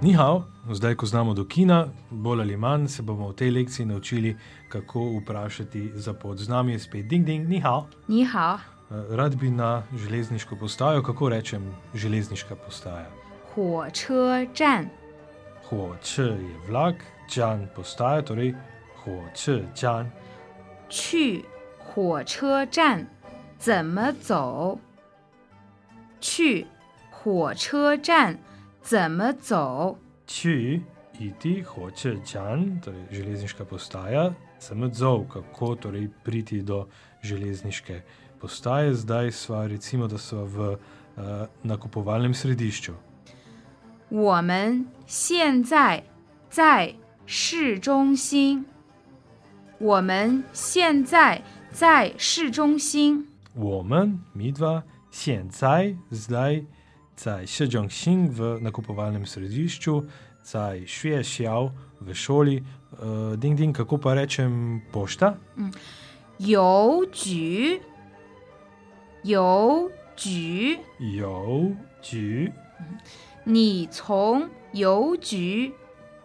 Nihao, zdaj ko znamo do kina, bolj ali manj se bomo v tej lekciji naučili, kako vprašati za pot. Z nami je spet ding ding, nihao. 你好， Rad bi na železniško postajo, kako rečem, železniška postaja. 火车站， Hoče je vlak, čan postaja, torej hoče čan. 去火车站怎么走？去火车站怎么走？ Či iti hoče čan, torej železniška postaja, sem odzov, kako torej priti do železniške postaje. Zdaj sva recimo, da sva v uh, nakupovalnem središču. 我们现在在市中心。我们现在在市中心。我们 midva 现在 zdaj 在市中心 v nakupovalnem središču, zdaj šuje šjav v šoli. Uh, ding ding, kako pa rečem pošta? 邮局，邮局，有局你从邮局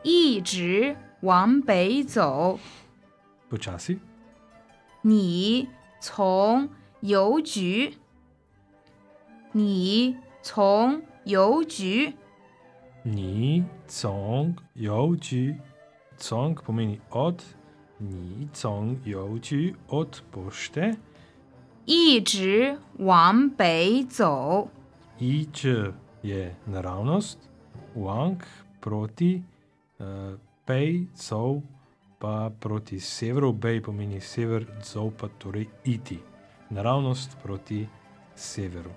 一直往北走。 počasi. 你从邮局，你从邮局， Ni cong joči, cong pomeni od, ni cong joči od pošte, 一直往北走。 ič je naravnost, wang proti, uh, pej cov pa proti severu, bej pomeni sever, cov pa torej iti. Naravnost proti severu.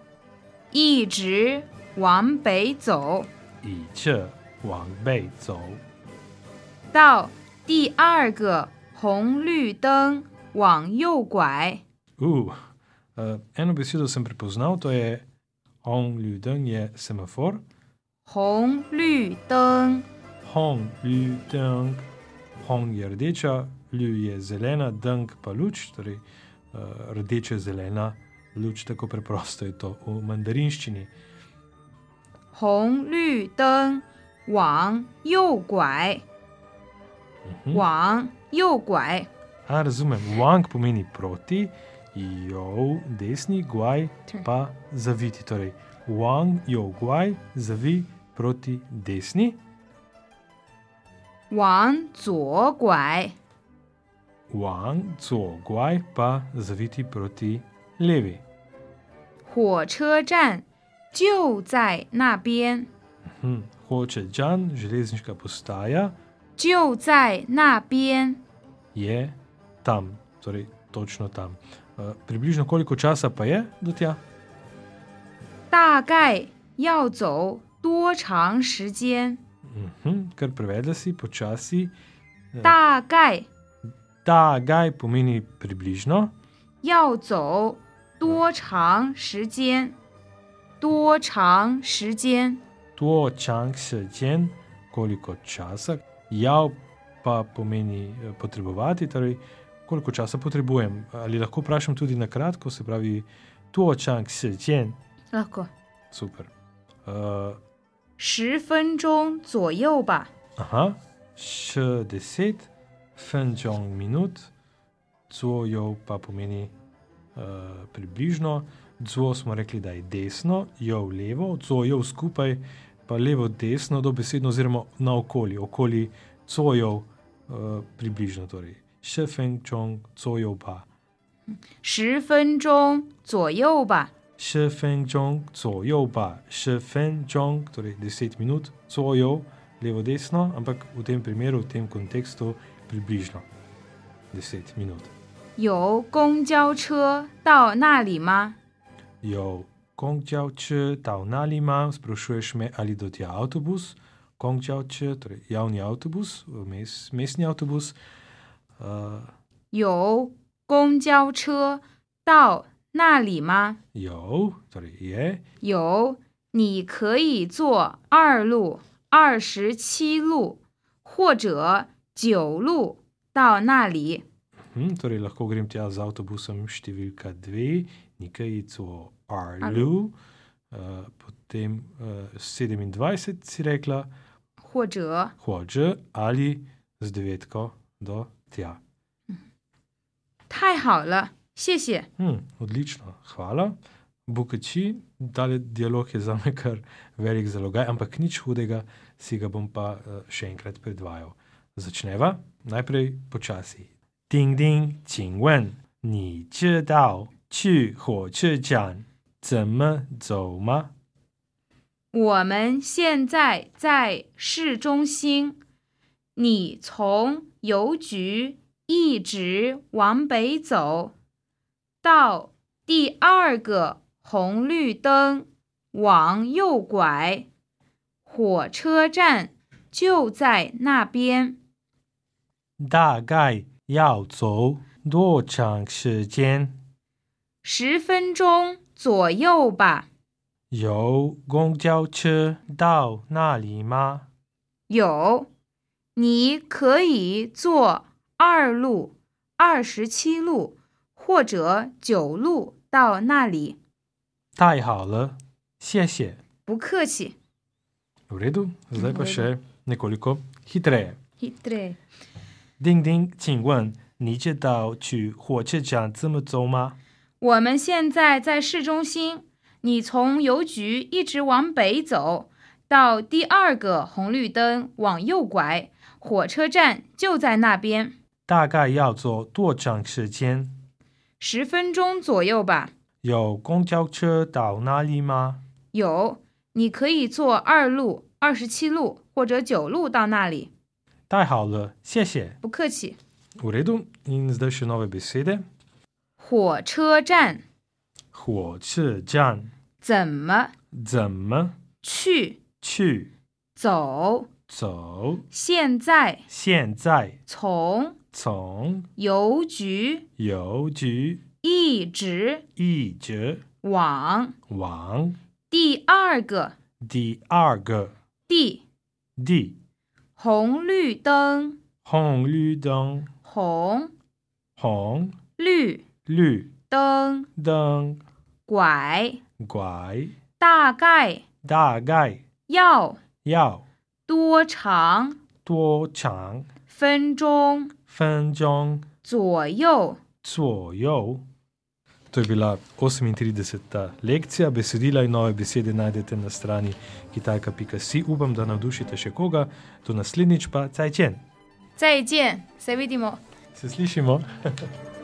一直往北走 Ič wang bej cov. 到第二个红绿灯，往右拐。 Uh, eh, eno besedo sem prepoznal, to je Hong Ljuden, je semafor. 红绿灯， Hong Ljuden, Hong je rdeča, Lju je zelena, Deng pa luč, torej uh, rdeče-zelena luč, tako preprosto je to v mandarinščini. 红绿灯，往右拐， Mhm. 往右拐。 A, razumem, Wang pomeni proti, jo desni, guaj Torej. pa zaviti. Torej, Wang, jo guaj, zavi proti desni. 往左拐， Wang, zuo, guaj pa zaviti proti levi. 火车站就在那边， Hm, hoče Džan, železniška postaja 就在那边。 je tam, torej točno tam. Eh, približno koliko časa pa je do tja? 大概要走多长时间？ Mhm, kar prevedla si počasi. 大概 Ta gaj pomeni približno, 要走多长时间？多长时间？ to čang se džen, koliko časa, jav pa pomeni eh, potrebovati, torej koliko časa potrebujem. Ali lahko vprašam tudi na kratko, se pravi, to čang se džen, 老哥， super. Uh, 十分钟左右吧。 Aha, 60 fenčong minut, cojo pa pomeni uh, približno, co smo rekli, da je desno, jo levo, cojo skupaj, pa levo, desno, dobesedno, oziroma naokoli, okoli cojo uh, približno. Torej. Še fenčong, cojo pa. 十分钟左右吧。十分钟左右吧，十分钟 torej 10 minut, 左右 levo desno, ampak v tem primeru, v tem kontekstu približno 10 minut. 有公交车到那里吗？ Jo, kongčao če tavnali ima, sprašuješ me, ali do tja avtobus, kongčao če, torej javni avtobus, mes, mestni avtobus, uh, 有公交车到那里吗？ jo, torej je, 有，你可以坐二路、二十七路或者九路到那里。 Hm, torej, lahko grem tja z avtobusom številka 2, nekaj co Arlu. Eh, Arlu, uh, potem uh, 27 si eh, rekla, 或者 Hoče ali z devetko do tja. 太好了，谢谢。 Hm, odlično, hvala. Bukači, tale dialog je za me kar velik zalogaj, ampak nič hudega, si ga bom pa eh, še enkrat predvajal. Začneva najprej počasi. Ding ding, qing wen, ni če dao, či ho če čan, zeme zou ma? 我们现在在市中心。你从邮局一直往北走，到第二个红绿灯，往右拐，火车站就在那边。大概要走多长时间？十分钟左右吧。有公交车到那里吗？有，你可以坐二路、二十七路或者九路到那里。太好了，谢谢。不客气。 V redu, zdaj V pa redu. še nekoliko hitreje. Ding ding，请问你知道去火车站怎么走吗？我们现在在市中心，你从邮局一直往北走，到第二个红绿灯往右拐，火车站就在那边，大概要走多长时间？十分钟左右吧。有公交车到哪里吗？有，你可以坐二路、二十七路或者九路到那里。太好了，谢谢。不客气。 V redu, in zdaj še nove besede. 火车站火车站怎么怎么去去走？走？现在现在从从邮局邮局一直一直往往第二个第二个地地红绿灯红绿灯红红绿绿灯灯拐，拐，大概大概要要多长多长分钟分钟左右？左右？To je bila 38. lekcija, besedila in nove besede najdete na strani kitajka.si. Upam, da navdušite še koga, do naslednjič pa cajčen. 再见 s a v i d i m o Se slišimo?